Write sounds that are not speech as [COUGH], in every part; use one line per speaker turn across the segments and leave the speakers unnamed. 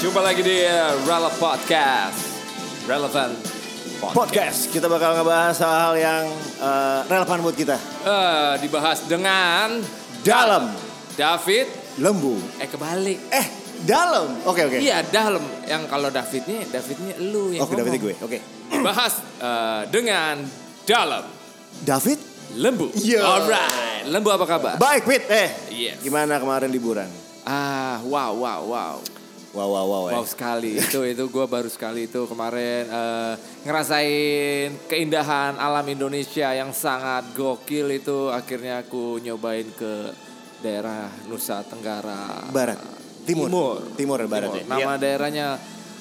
Jumpa lagi di uh, Rela Podcast. Relevant Podcast.
[LAUGHS] Podcast kita bakal ngebahas hal-hal yang eh, relevan buat kita.
Eh, dibahas dengan
Dalam
David.
lembu.
Eh kebalik.
Eh, dalam. Oke oke.
Iya dalam. Yang kalau Davidnya, Davidnya lu yang
Oke, David
ngomong.
gue.
[CLEARS THROAT]
Oke.
Dibahas eh, dengan dalam
David,
lembu.
Iya.
Alright. Lembu apa kabar?
baik Pit. Eh,
Yes.
gimana kemarin liburan?
ah, wow, wow, wow.
Wow wow wow. eh.
Wow sekali itu itu gue baru sekali itu kemarin eh, ngerasain keindahan alam Indonesia yang sangat gokil itu akhirnya aku nyobain ke daerah Nusa Tenggara
Barat. Timur.
Timur,
Timur, barat
Timur. Iya.
ya.
Nama daerahnya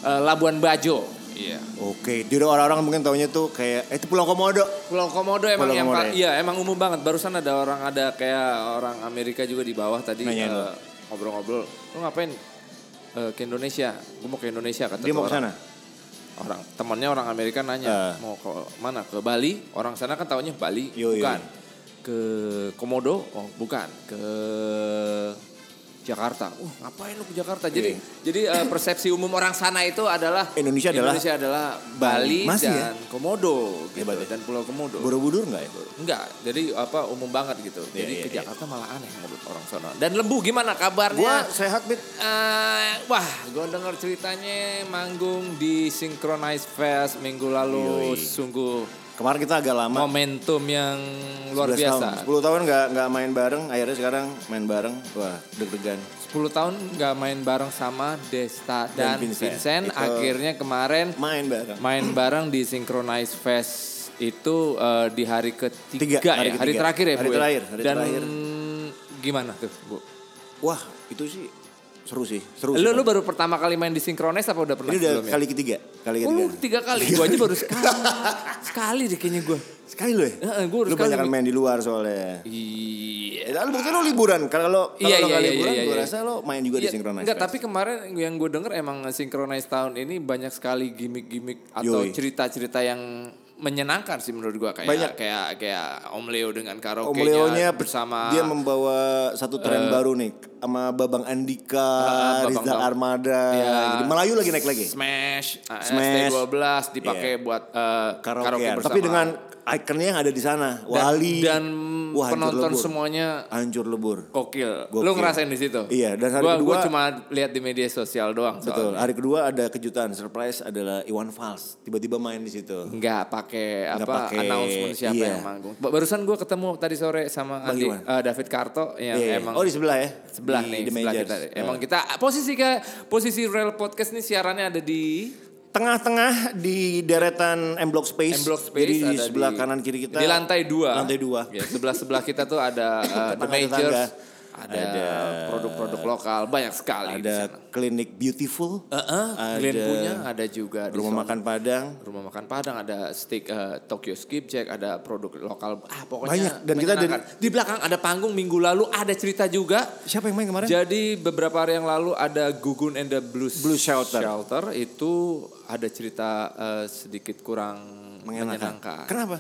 eh, Labuan Bajo. Iya.
Oke, jadi orang-orang mungkin taunya tuh kayak eh, itu Pulau Komodo.
Pulau Komodo emang
Pulau
yang
Komodo,
pa-
ya.
iya emang umum banget. Barusan ada orang ada kayak orang Amerika juga di bawah tadi eh,
Nanyain lu.
ngobrol-ngobrol. Lu ngapain? Eh, ke Indonesia. Gue mau ke Indonesia kata
Dia
tuh
mau ke
orang.
sana.
orang temannya orang Amerika nanya
Eh.
mau ke mana ke Bali orang sana kan taunya Bali
Yoi.
bukan ke Komodo oh bukan ke Jakarta uh ngapain lu ke Jakarta jadi jadi eh, persepsi umum orang sana itu adalah
Iya. Indonesia adalah-
Indonesia adalah Bali
Masih ya?
dan Komodo gitu,
Hebat ya.
dan Pulau Komodo
Borobudur nggak ya?
enggak jadi apa umum banget gitu
Iya,
jadi
iya,
ke
iya.
Jakarta malah aneh menurut orang sana dan Lembu gimana
Gua
kabarnya
sehat, Pit.
Eh, wah, gue denger ceritanya manggung di Synchronize Fest minggu lalu
Yoi.
sungguh
Kemarin kita agak lama.
momentum yang luar
11
biasa.
Tahun. 10 tahun nggak nggak main bareng, akhirnya sekarang main bareng. Wah, deg-degan.
10 tahun nggak main bareng sama Desta dan,
Dan
Vincent.
Vincent. Itu-
Akhirnya kemarin
Main bareng.
main bareng di Synchronize Fest itu eh, di hari ketiga
Tiga,
ya,
hari
hari
ketiga.
terakhir ya
Hari
Bu. ya?
terakhir, hari
dan
terakhir.
gimana tuh Bu?
Wah, itu sih seru sih, seru.
Lu,
sih.
lu baru pertama kali main di Synchronize apa udah pernah
ini udah
sebelumnya?
kali ketiga, kali
Oh,
ketiga.
lu tiga kali. Gue aja baru sekali. sekali deh kayaknya gue.
Sekali lu ya?
Heeh, gua udah
lu
sekali.
banyak main di luar soalnya.
Iya.
Ya, lu bukti lu liburan. Kalau kalau
Iya,
lu
iya,
nggak
iya,
liburan,
iya,
gua
iya.
rasa lu main juga di Synchronize.
Enggak,
Fest.
tapi kemarin yang gue denger emang Synchronize tahun ini banyak sekali gimmick-gimmick atau
Yoi.
cerita-cerita yang menyenangkan sih menurut gue kayak
Banyak.
kayak kayak Om Leo dengan karaoke
Om
iya,
Leonya
bersama
dia membawa satu tren baru nih sama Babang Andika,
Ah, Babang-
Rizal Armada.
Iya.
Jadi Melayu lagi naik lagi.
Smash, Ah,
Smash.
ST12 dipakai buat eh, karaoke,
Karaoke.
bersama.
Tapi dengan ikonnya yang ada di sana,
dan,
Wali
dan
Wah, hancur
penonton
lebur.
semuanya
hancur lebur.
kokil.
Gokil.
Lu ngerasain di situ?
Iya, dan hari
gua,
kedua-
gua cuma lihat di media sosial doang soalnya.
Betul. Hari kedua ada kejutan surprise adalah Iwan Fals tiba-tiba main di situ.
nggak pakai
Nggak
apa
pakai,
announcement siapa
iya.
yang manggung. Ba- Barusan gue ketemu tadi sore sama
Bang
Andi,
Iwan.
eh, David Karto yang
Iya.
emang
oh di sebelah ya?
sebelah
Di
nih
The
sebelah
Majors.
kita. ya.
Eh,
Emang kita posisi ke posisi Real Podcast nih siarannya ada di
tengah-tengah di deretan M Block Space.
M Block Space
Jadi di
ada
sebelah
di-
kanan kiri kita.
Di lantai dua.
Lantai dua.
Ya, sebelah sebelah kita tuh
[LAUGHS]
ada eh, The
Tetangga-tetangga.
Majors, ada
Ada-
produk-produk lokal banyak sekali di
Ada
sana. Eh,
klinik beautiful.
Heeh,
Ada
Glenn punya ada juga di
rumah
sono.
makan Padang.
rumah makan Padang ada steak eh, Tokyo skip jack ada produk lokal ah pokoknya
Banyak, dan kita ada-
menyenangkan. di belakang ada panggung minggu lalu ada cerita juga
Siapa yang main kemarin?
jadi beberapa hari yang lalu ada Gugun and the Blues
Blues Shelter.
Shelter itu ada cerita eh, sedikit kurang
Mengenakan.
menyenangkan Eh,
Kenapa?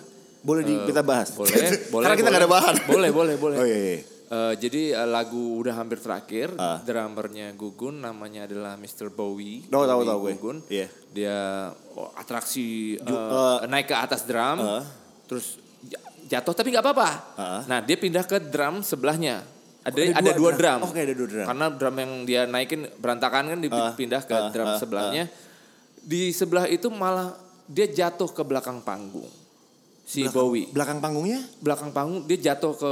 Boleh di, kita bahas. [LAUGHS]
boleh, boleh,
Karena
boleh.
kita nggak ada bahan.
[LAUGHS] Boleh, boleh, boleh.
Oh iya. iya.
Eh, jadi eh, lagu udah hampir terakhir,
Ah.
drummernya Gugun namanya adalah Mr. Bowie.
Tahu, Oh, tahu,
Bowie
tahu gue.
Gugun.
Iya.
Dia oh, atraksi eh,
Ju-
naik ke atas drum,
Ah.
terus j- jatuh tapi nggak apa-apa.
Ah. Oh,
Nah dia pindah ke drum sebelahnya. Ada,
ada
ada
dua
dua drum.
drum. Oke, ada dua drum.
Karena drum yang dia naikin berantakan kan dipindah ke
ah,
drum
ah,
sebelahnya. Di sebelah itu malah dia jatuh ke belakang panggung. Si
Belakang-
Bowie
Belakang panggungnya?
belakang panggung dia jatuh ke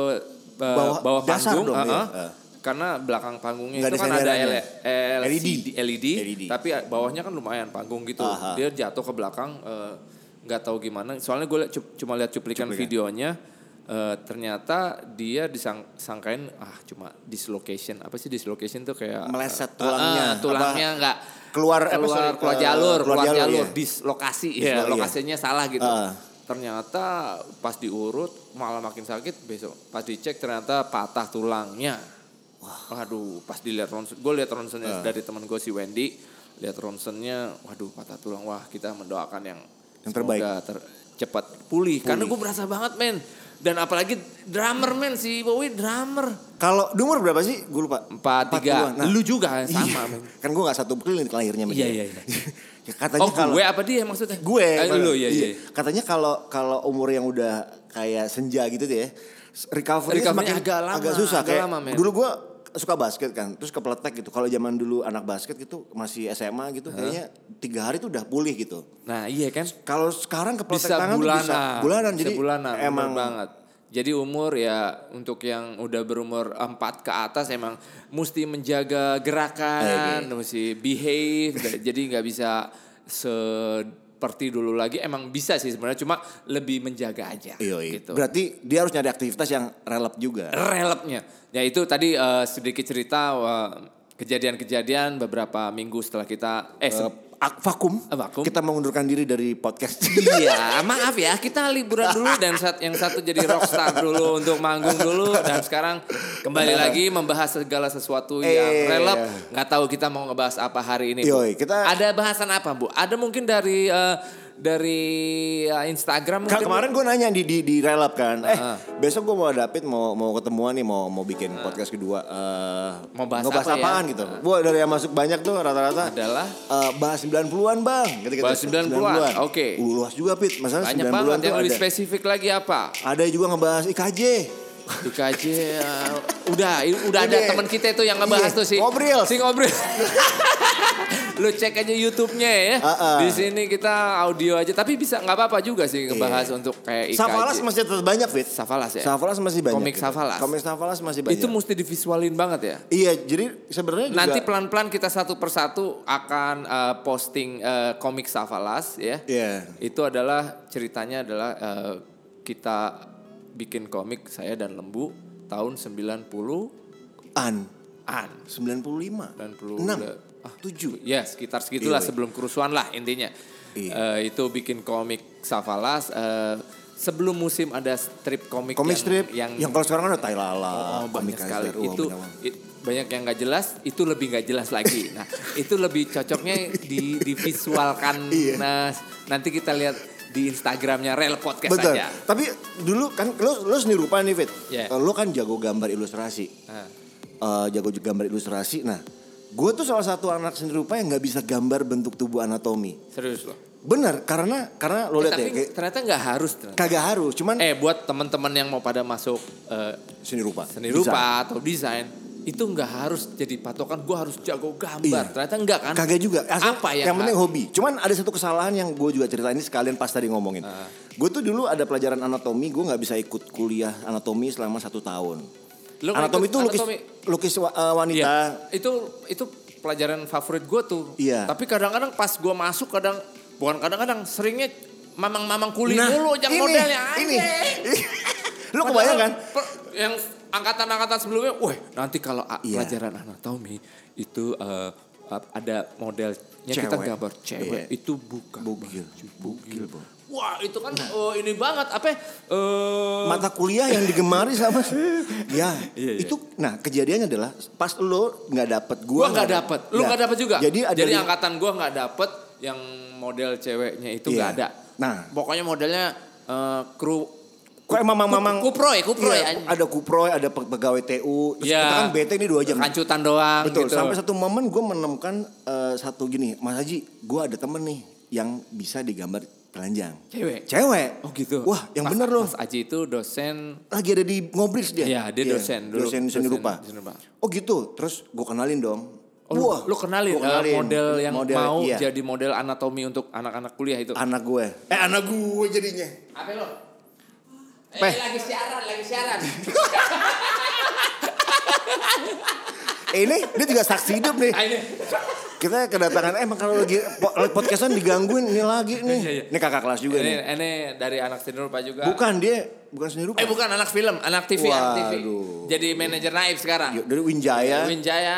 uh, bawah,
Bawah- dasar
panggung
dong dia.
uh-uh.
Uh.
karena belakang panggungnya
Nggak
itu
ada E
kan ada
senderannya.
L-
LED.
LCD, LED,
LED.
tapi uh, bawahnya kan lumayan panggung gitu
Aha.
dia jatuh ke belakang uh, nggak tahu gimana soalnya gue cuma lihat cuplikan, videonya uh, ternyata dia disangkain ah cuma dislocation apa sih dislocation tuh kayak uh,
Meleset
uh-uh,
tulangnya.
tulangnya
Apa?
nggak
Keluar- apa,
keluar
sorry,
Eh, keluar
uh,
jalur
keluar
keluar jalur,
jalur, ya.
dislokasi
Dislokasi,
ya
ya.
lokasinya salah gitu
Ah.
ternyata pas diurut malah makin sakit besok pas dicek ternyata patah tulangnya waduh pas dilihat ronsen gue lihat
Ah.
ronsennya dari teman gue si Wendy lihat ronsennya waduh patah tulang wah kita mendoakan yang
Yang terbaik.
semoga ter- cepat pulih. karena gue berasa banget men Dan apalagi drummer men si Bowie drummer.
Kalau di umur berapa sih? Gue lupa.
Empat, tiga.
puluhan. Nah,
Lu juga sama
iya.
men.
Kan gue gak satu keliling lahirnya sama
Iya, iya,
dia.
iya.
[LAUGHS] Ya, katanya
Oh
kalau
gue apa dia maksudnya?
gue
Eh,
malah.
lu ya
Iya.
iya.
Katanya kalau kalau umur yang udah kayak senja gitu tuh ya, recovery
Recovery-nya
semakin
agak lama,
susah
agak
kayak.
lama, men.
dulu gue suka basket kan, terus kepletek gitu. Kalau zaman dulu anak basket gitu masih SMA gitu kayaknya tiga hari tuh udah pulih gitu.
Nah iya kan.
Kalau sekarang kepletek
bisa
tangan tuh
bulanan,
bisa bulanan
Bisa
jadi
bulanan, bener
emang
banget. Jadi umur ya untuk yang udah berumur 4 ke atas emang mesti menjaga
Iya,
gerakan, mesti behave. jadi nggak bisa seperti dulu lagi. Emang bisa sih sebenarnya cuma lebih menjaga aja
Iya, iya.
gitu.
Berarti dia harus nyari aktivitas yang relap juga.
relepnya. Ya itu tadi eh, sedikit cerita eh, kejadian-kejadian beberapa minggu setelah kita eh se-
Ak- vakum.
Eh, vakum.
Kita mengundurkan diri dari podcast.
[LAUGHS] Iya, maaf ya kita liburan dulu dan saat yang satu jadi rockstar dulu untuk manggung dulu dan sekarang kembali
Iya.
lagi membahas segala sesuatu yang
Eh.
relap. Nggak tahu kita mau ngebahas apa hari ini. Bu.
Yoi, kita-
Ada bahasan apa bu? Ada mungkin dari eh, dari eh, Instagram
Kak,
mungkin.
Kan kemarin gue nanya di di, di relap kan. Eh, besok gue mau ada David mau mau ketemuan nih mau mau bikin podcast kedua. Eh,
Mau bahas apa ya?
apaan gitu. Gue dari yang masuk banyak tuh rata-rata
Adalah?
eh, bahas 90-an, Bang. Gitu-gitu.
Bahas 90-an, oke.
Uh, luas juga, Pit. Masalah
banyak
90-an
banget
tuh
yang lebih
ada.
spesifik lagi apa?
Ada juga ngebahas IKJ.
IKJ eh, udah i- udah ada
Udah.
teman kita itu yang ngebahas
Iya,
tuh si
Ngobril.
Si ngobrol. [LAUGHS] Lu cek aja YouTube-nya ya.
Ah, ah.
Di sini kita audio aja tapi bisa nggak apa-apa juga sih ngebahas untuk kayak IKJ.
Iya. Safalas masih tetap banyak, Fit.
Safalas ya.
Safalas masih banyak.
Komik
gitu.
Safalas.
Komik Safalas masih banyak.
Itu mesti divisualin banget ya.
Iya, jadi sebenarnya juga-
Nanti pelan-pelan kita satu persatu akan eh, posting eh, komik Safalas ya.
Iya.
Itu adalah ceritanya adalah eh, kita bikin komik saya dan Lembu tahun 90-an.
an 95
90 udah.
6 7
Ya sekitar segitulah sebelum kerusuhan lah intinya.
Iya.
Eh, itu bikin komik Savalas. eh, sebelum musim ada strip komik
Komik
yang-
strip yang,
yang,
kalau sekarang kan ada Tai Lala,
oh, banyak
Komik
sekali.
Kaiser, wah,
itu
banyak banget.
it- banyak yang nggak jelas. Itu lebih nggak jelas
[LAUGHS]
lagi. Nah itu lebih cocoknya di divisualkan.
Iya.
Nah nanti kita lihat di Instagramnya Rel Podcast
Betul.
aja.
Tapi dulu kan lu lu seni rupa nih, Fit.
Iya.
Lu kan jago gambar ilustrasi.
Nah,
Eh, jago juga gambar ilustrasi. Nah, gue tuh salah satu anak seni rupa yang nggak bisa gambar bentuk tubuh anatomi.
serius loh.
Bener, karena karena lo
Eh,
lihat
tapi
ya, kayak,
ternyata nggak harus. ternyata.
kagak harus, cuman
Eh buat teman-teman yang mau pada masuk eh,
seni rupa.
seni
Bisa.
rupa atau desain itu nggak harus jadi patokan gue harus jago gambar
Iya.
ternyata enggak kan
Kagak juga. Asal
apa ya, yang,
yang, penting hobi. Cuman ada satu kesalahan yang gue juga cerita ini sekalian pas tadi ngomongin.
Ah.
Gue tuh dulu ada pelajaran anatomi, gue nggak bisa ikut kuliah anatomi selama satu tahun.
Lu nggak
anatomi
ikut
itu lukis
anatomi?
lukis wa- eh, wanita.
Iya. itu itu pelajaran favorit gue tuh
Iya.
tapi kadang-kadang pas gue masuk kadang bukan kadang-kadang seringnya mamang-mamang kuli
Nah,
dulu yang
ini,
modelnya
ini. [LAUGHS]
anjing.
Lu
Padahal
kebayang kan?
per- yang angkatan-angkatan sebelumnya, wah nanti kalau a-
Iya.
pelajaran anatomi itu eh, ap- ada modelnya kita
Cewek.
gambar cewek
Iya.
itu bukan
Bugil, bugil, Bro.
Wah itu kan
Nah.
eh, ini banget apa? eh
Mata kuliah yang digemari sama [LAUGHS] ya
Iya, iya.
itu nah kejadiannya adalah pas lo nggak dapet gua
gua nggak dapet, lu
Nah,
nggak dapet juga.
jadi ada
Jadi
li-
angkatan gua nggak dapet yang model ceweknya itu
Iya.
nggak ada.
Nah.
pokoknya modelnya eh, kru.
Kok emang mamang
kuproy, kuproy.
Iya, ada kuproy, ada pe- pegawai TU. Terus
Iya.
kita kan bete ini dua jam.
Kancutan doang.
Betul.
gitu.
Sampai satu momen gue menemukan eh, satu gini, Mas Haji, gue ada temen nih yang bisa digambar telanjang.
Cewek?
Cewek.
Oh gitu.
Wah, yang
Mas-
bener loh.
Mas Aji itu dosen.
Lagi ada di Ngobris dia.
Iya, dia dosen dulu.
Dosen seni
Dosen
rupa.
seni rupa.
Oh gitu. Terus gue kenalin dong.
Oh, lu- lu, kenalin,
gua
eh, model yang
Model,
mau
iya.
jadi model anatomi untuk anak-anak kuliah itu.
anak gue. Eh anak gue jadinya.
Apa lo? Eh,
Peh.
lagi siaran, lagi siaran.
Eh, ini dia juga saksi hidup nih.
Ah, ini.
Kita kedatangan eh, emang kalau lagi po- podcastan digangguin ini lagi nih.
Iya, iya.
Ini kakak kelas juga
ini,
nih.
ini dari anak seni rupa juga.
Bukan dia, bukan seni rupa.
Eh bukan anak film, anak TV, anak TV.
Waduh.
Jadi manajer naib sekarang.
Yuk, Dari Winjaya.
Iya, Winjaya.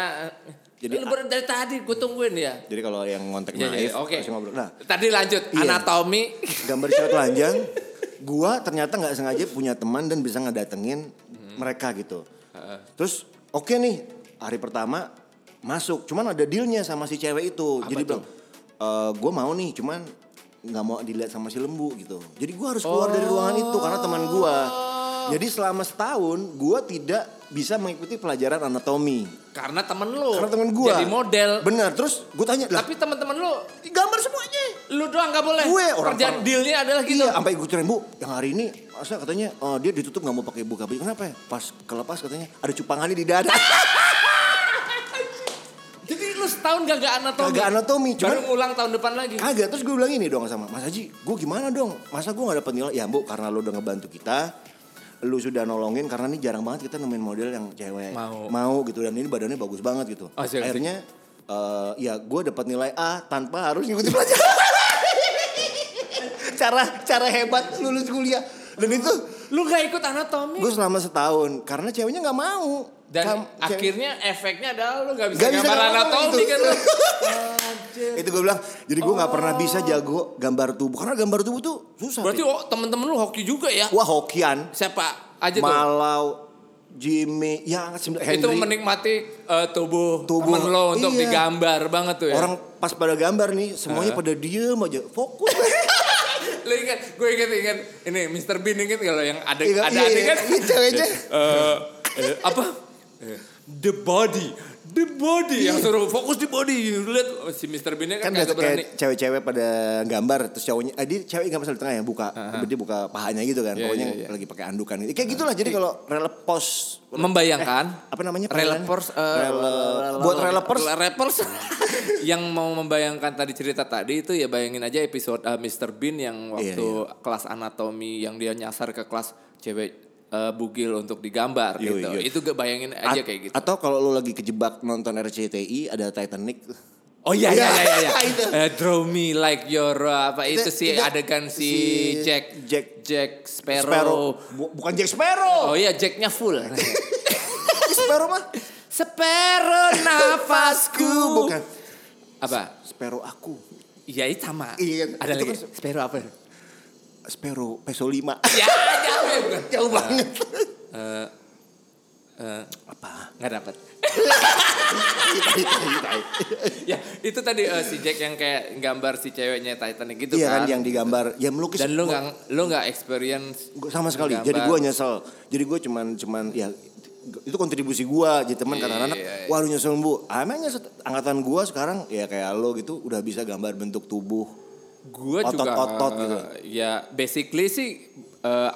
Jadi
Jadi-
lu baru dari tadi gue tungguin ya.
Jadi kalau yang ngontek
Ya, ya,
naif,
oke.
langsung ngobrol. Nah,
Tadi lanjut
Iya.
anatomi.
gambar cewek telanjang, gua ternyata nggak sengaja punya teman dan bisa ngedatengin mereka gitu. Terus oke nih, hari pertama masuk, cuman ada dealnya sama si cewek itu. Jadi bilang, "Eh, gua mau nih, cuman nggak mau dilihat sama si lembu gitu. Jadi gua harus keluar dari ruangan itu karena teman gua.
Oh.
Jadi selama setahun gua tidak bisa mengikuti pelajaran anatomi.
Karena temen lu.
Karena temen gua.
Jadi model.
Benar. Terus gue tanya, lah
Tapi temen-temen lu,
gambar semuanya.
lu doang gak boleh.
Gue orang
Kerjaan
per-
dealnya adalah gitu.
Iya, sampai gue ceritain bu, yang hari ini masa katanya eh, dia ditutup nggak mau pakai buka baju. Kenapa ya? Pas kelepas katanya ada cupangannya di
[LAUGHS]
dada.
Jadi lu setahun gak gak anatomi.
Kagak anatomi,
Baru
cuman- Kan-
ngulang tahun depan lagi.
Kagak, terus gue bilang ini dong sama Mas Haji, gue gimana dong? Masa gue gak dapet nilai? Ya bu, karena lu udah ngebantu kita, lu sudah nolongin karena ini jarang banget kita nemuin model yang cewek
Mau.
gitu dan ini badannya bagus banget gitu.
Oh, serius?
Akhirnya eh, ya gue dapat nilai A tanpa harus ngikutin pelajaran. [LAUGHS] cara cara hebat lulus kuliah dan itu
Lu gak ikut anatomi.
gue selama setahun karena ceweknya nggak mau.
Dan
Kam- cewek-
akhirnya efeknya adalah lu gak bisa
Nggak bisa
gambar
gambar
anatomi
itu.
kan lu.
itu gue bilang jadi gue nggak pernah bisa jago gambar tubuh karena gambar tubuh tuh susah.
Berarti
Fit.
oh, temen-temen lu hoki juga ya.
wah hokian.
Siapa aja tuh?
Malau, Jimmy, ya sembilan- Henry.
Itu menikmati eh, tubuh,
Tubuh,
temen lo untuk
iya.
digambar banget tuh ya.
Orang pas pada gambar nih, semuanya pada diem aja, fokus.
[LAUGHS] Lo ingat, gue ingat ingat ini Mr. Bean ingat kalau yang ada
Iya,
ada
iya,
adegan
iya, iya,
[LAUGHS]
ceweknya.
Eh, eh, apa? Eh, The body, the body yang suruh fokus di body. Lihat si Mr. Bean
Iya. kan
kan,
biasa
kagak berani.
kayak cewek-cewek pada gambar terus cowoknya, eh, dia cewek nggak masalah di tengah ya buka, dia buka pahanya gitu kan,
Iya,
pokoknya
iya, iya.
lagi pakai andukan. gitu. Kayak gitulah jadi kalau relepos
Membayangkan
apa namanya?
Relepers, eh,
pelajaran? Rele- buat relepers
rappers [LAUGHS] yang mau membayangkan tadi cerita tadi itu ya bayangin aja episode eh, Mr. Bean yang
Iya,
waktu kelas anatomi yang dia nyasar ke kelas cewek eh, bugil untuk digambar
Yoi,
gitu.
yoi.
Itu gak bayangin aja
Iya, At-
kayak gitu.
Atau kalau lu lagi kejebak nonton RCTI ada Titanic.
Oh iya iya iya iya.
[LAUGHS] Itu.
Eh, draw me like your uh, apa itu,
Itu-
sih
itu
adegan si,
si
Jack
Jack-
Jack Sparrow.
Bu- bukan Jack Sparrow. [LAUGHS]
Oh iya Jacknya full.
Sparrow mah
Sparrow nafasku.
bukan.
Apa?
Sparrow aku.
Iya itu sama.
Iya,
Ada
itu
lagi.
kan-
Sparrow apa?
Sparrow peso 5.
ya jauh ya, bukan.
[LAUGHS] Jauh banget.
eh,
[LAUGHS]
Apa? Nggak dapet.
Tai, tai, tai.
ya itu tadi eh, si Jack yang kayak gambar si ceweknya Titanic gitu
Iya
kan.
kan yang digambar, ya melukis.
Dan lu nggak lu nggak experience
Gua- sama sekali.
Gambar.
Jadi gue nyesel. Jadi gue cuman cuman ya itu kontribusi gue jadi teman
Iya,
kata anak
iya, iya.
wah lu nyesel bu emangnya set- angkatan gue sekarang ya kayak lo gitu udah bisa gambar bentuk tubuh
Gue juga
Otot-otot gitu.
Ya basically sih eh,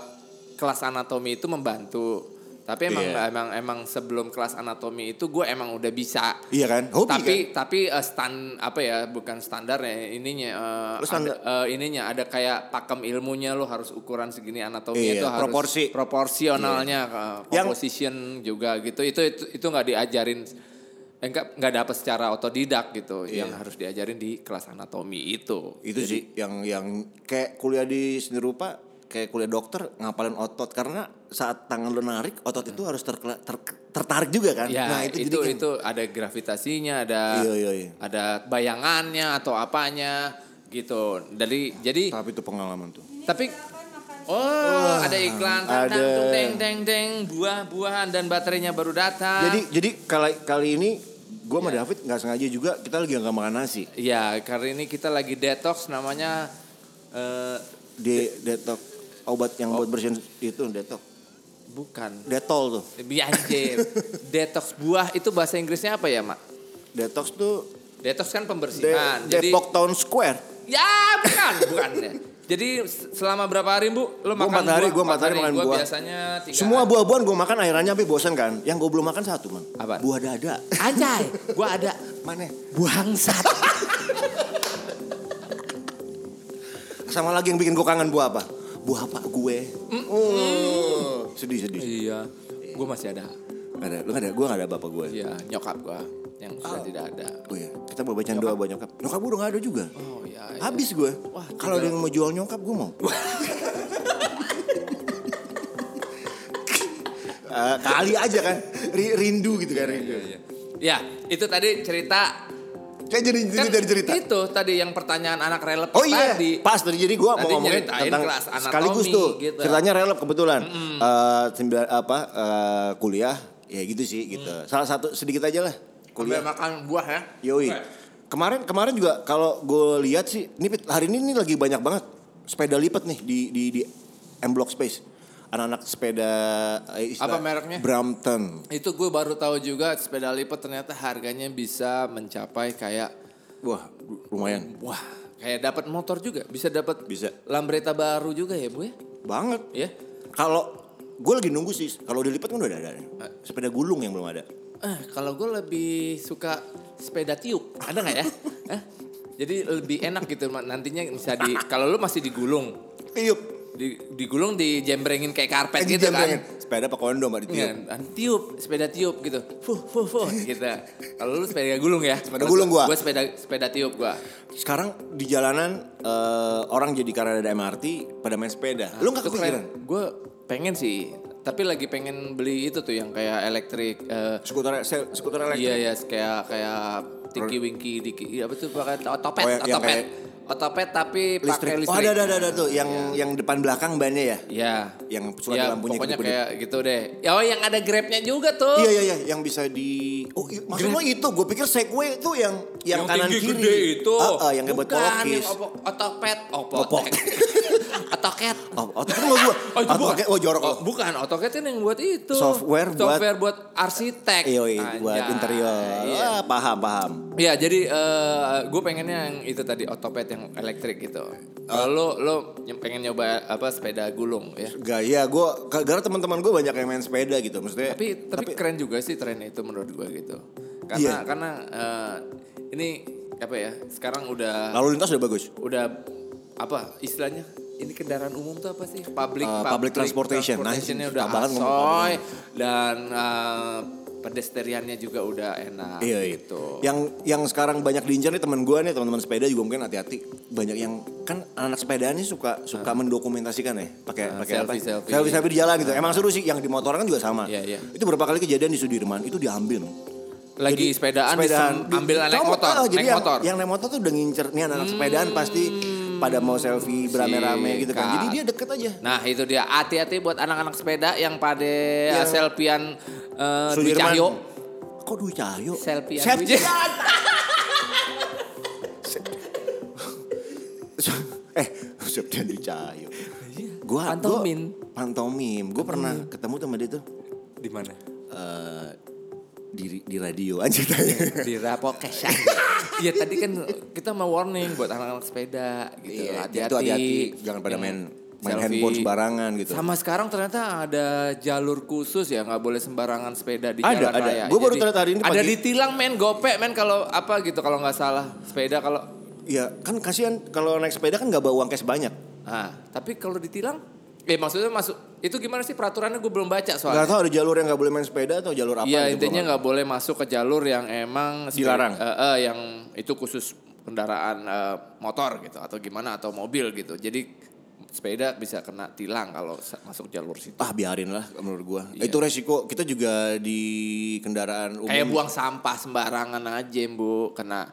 kelas anatomi itu membantu. Tapi emang
Iya.
emang emang sebelum kelas anatomi itu gue emang udah bisa.
iya kan hobi
tapi
kan
tapi eh, stan apa ya bukan standarnya ininya eh,
Lu standar-
ada, eh, ininya ada kayak pakem ilmunya lo harus ukuran segini anatomi
Iya,
itu harus
proporsi. Iya.
proporsionalnya eh,
Yang-
composition juga gitu itu itu itu nggak diajarin eh, nggak nggak dapat secara otodidak gitu
Iya.
yang harus diajarin di kelas anatomi itu
itu sih yang yang kayak kuliah di seni rupa kayak kuliah dokter ngapalin otot karena saat tangan lo narik otot itu harus terkela- ter- tertarik juga kan
Ya, itu itu,
jadi kan-
ada gravitasinya, ada
Iya, iya, iya.
ada bayangannya atau apanya gitu. Dari jadi
tapi itu pengalaman tuh
tapi oh, ada iklan
ada.
tentang deng deng deng buah-buahan dan baterainya baru datang.
Jadi jadi kali kali ini gue sama David nggak sengaja juga kita lagi nggak makan nasi
ya kali ini kita lagi detox namanya eh,
di detok obat yang buat bersihin itu detok
bukan
detol tuh
lebih
[LAUGHS]
anjir. detox buah itu bahasa Inggrisnya apa ya, Mak?
detox tuh
Detox kan
de,
pembersihan. Jadi
Depok Town Square
Ya bukan, bukan. Jadi selama berapa hari bu? Lo
Gua
makan
empat hari,
buah?
gua empat hari makan
Gua
buah.
biasanya tiga
semua
hari.
buah-buahan gue makan akhirnya tapi bosan kan yang gue belum makan satu man
Apaan?
buah dada Eh,
Anjay, gue ada
[LAUGHS] mana
buangsat.
[LAUGHS] sama lagi yang bikin gue kangen buah apa buah apa gue Oh, sedih sedih
iya, gue masih ada.
Nggak ada lu nggak ada gue nggak ada bapak gue
Iya, nyokap gue yang sudah tidak ada.
oh iya kita mau bacain doa buat nyokap nyokap gue udah nggak ada juga
Oh iya. iya.
habis gue
Wah,
kalau ada yang mau jual nyokap gue mau Eh, kali aja kan Ri- rindu gitu kan rindu
Iya. Ya, itu tadi cerita.
kayak jadi jadi dari cerita
Kan Itu tadi yang pertanyaan anak relep
Oh iya,
tadi.
pas tadi jadi gue mau
Tadi
ngomongin
nyeritain
tentang
kelas anatomi
sekaligus tuh
gitu.
ceritanya relap kebetulan Eh, sembilan apa eh, kuliah ya gitu sih gitu
Mm.
salah satu sedikit aja lah
Sambil
kuliah
makan buah ya.
yoi kemarin kemarin juga kalau gue lihat sih ini Pit, hari ini nih lagi banyak banget sepeda lipat nih di di di M Block Space anak-anak sepeda eh, istilah-
Apa mereknya?
Brampton.
Itu gue baru tahu juga sepeda lipat ternyata harganya bisa mencapai kayak
Wah, lumayan.
wah, kayak dapat motor juga, bisa dapat
Bisa.
Lambretta baru juga ya, Bu ya?
Banget.
Ya.
Kalau gue lagi nunggu sih, kalau dilipat kan udah ada, ada. Sepeda gulung yang belum ada.
Eh, kalau gue lebih suka sepeda tiup, ada nggak
[LAUGHS]
ya? Hah? Jadi lebih enak gitu Ma. nantinya bisa di kalau lu masih digulung,
Tiup.
di, digulung dijembrengin kayak karpet
Eh,
gitu
dijembrengin.
kan.
Sepeda apa kondom ada tiup.
Iya, dan tiup, sepeda tiup gitu. Fuh, fuh, fuh gitu. Kalau lu sepeda gulung ya?
Sepeda gulung gua.
Gue sepeda sepeda tiup gua.
Sekarang di jalanan eh, orang jadi karena ada MRT pada main
Ah,
sepeda. Lu nggak kepikiran?
Gue pengen sih, tapi lagi pengen beli itu tuh yang kayak elektrik. eh,
Skuter sel- skuter
iya
elektrik.
ya, kayak kayak tinggi winky diki, iya, apa tuh pakai otopet,
Oh, yang- yang
otopet,
kayak-
otopet tapi pakai
Listrik.
listrik.
Oh ada, ada ada ada tuh yang yang depan belakang bannya ya.
Ya.
Yang suka
Ya,
ada lampunya
pokoknya
kedip-kedip.
kayak gitu deh. Ya, Oh, yang ada grabnya juga tuh.
Iya iya iya yang bisa di Oh i- maksud lo itu gue pikir Segway itu yang yang, kanan
tinggi
kiri.
gede itu.
Ah, ah, yang kayak buat
Bukan,
pelukis.
yang opo- otopet, opo- [LAUGHS]
Opok.
otoket.
Oh, otak lo gua.
Oh, itu
Otak-
bukan.
[LAUGHS] oh jorok lo.
Oh, bukan, AutoCAD kan yang buat itu.
Software buat-
Software buat arsitek.
Iya, iya, buat
Anjay.
interior.
Iya.
Ah, paham, paham.
Iya, jadi gue pengennya yang itu tadi otopet yang elektrik gitu. Kalau lo lo ny- pengen nyoba apa sepeda gulung ya.
Gaya gue, karena iya, teman-teman gue banyak yang main sepeda gitu, maksudnya.
Tapi, tapi keren juga sih tren itu menurut gue gitu. Karena
Iya.
karena eh, ini apa ya? Sekarang udah
lalu lintas udah bagus.
udah apa istilahnya? Ini kendaraan umum tuh apa sih? Public
Eh, public transportation. Nah,
transportationnya
susah
udah
banget ngomong
asoy dan eh, pedestriannya juga udah enak
Iya itu.
gitu.
Yang yang sekarang banyak diincar nih teman gue nih teman-teman sepeda juga mungkin hati-hati. Banyak yang kan anak sepedaan nih suka suka mendokumentasikan ya pakai
Ah,
pakai apa?
selfie- selfie.
selfie selfie di jalan gitu. Emang seru sih yang di motoran kan juga sama.
Iya, iya.
Itu berapa kali kejadian di Sudirman itu diambil.
Lagi sepedaan, disem- ambil naik
Cuma,
motor,
ah, jadi
naik
yang,
motor. Hmm.
Yang naik motor tuh udah ngincer nih anak-anak sepedaan pasti pada mau selfie berame-rame gitu kan. Jadi dia deket aja.
Nah itu dia hati-hati buat anak-anak sepeda yang pada selfiean eh, Dwi
Iya. Sudirman.
Cahyo.
Kok Dwi Cahyo?
Selfiean
Sep-
Dwi-
[LAUGHS] [LAUGHS] eh Septian Dwi Cahyo.
Iya.
Gua,
pantomin.
Gua, pantomim. Gue pernah ketemu sama dia tuh
Di mana?
eh, di di radio aja tanya. Iya,
Di Rapokesan. Iya tadi kan kita mau warning buat anak-anak sepeda gitu.
Iya,
Hati-hati. Iya.
itu hati-hati, jangan pada
Yang
main- main handphone sembarangan gitu.
Sama sekarang ternyata ada jalur khusus ya nggak boleh sembarangan sepeda di
Ada,
jalan
ada.
raya.
Gua baru
Jadi,
ternyata hari ini
Ada
pagi.
ditilang men gopek men kalau apa gitu kalau nggak salah sepeda kalau
Ya kan kasihan kalau naik sepeda kan nggak bawa uang cash banyak.
Nah, tapi kalau ditilang eh maksudnya masuk itu gimana sih peraturannya gue belum baca soalnya.
Gak tahu ada jalur yang nggak boleh main sepeda atau jalur apa?
Iya
gitu,
intinya
gua nggak-
nggak boleh masuk ke jalur yang emang sepe-
Dilarang.
Eh, eh, yang itu khusus kendaraan eh, motor gitu atau gimana atau mobil gitu. Jadi sepeda bisa kena tilang kalau sa- masuk jalur situ.
Ah biarin lah menurut gua. Itu resiko kita juga di kendaraan umum.
Iya. Kayak buang sampah sembarangan aja bu kena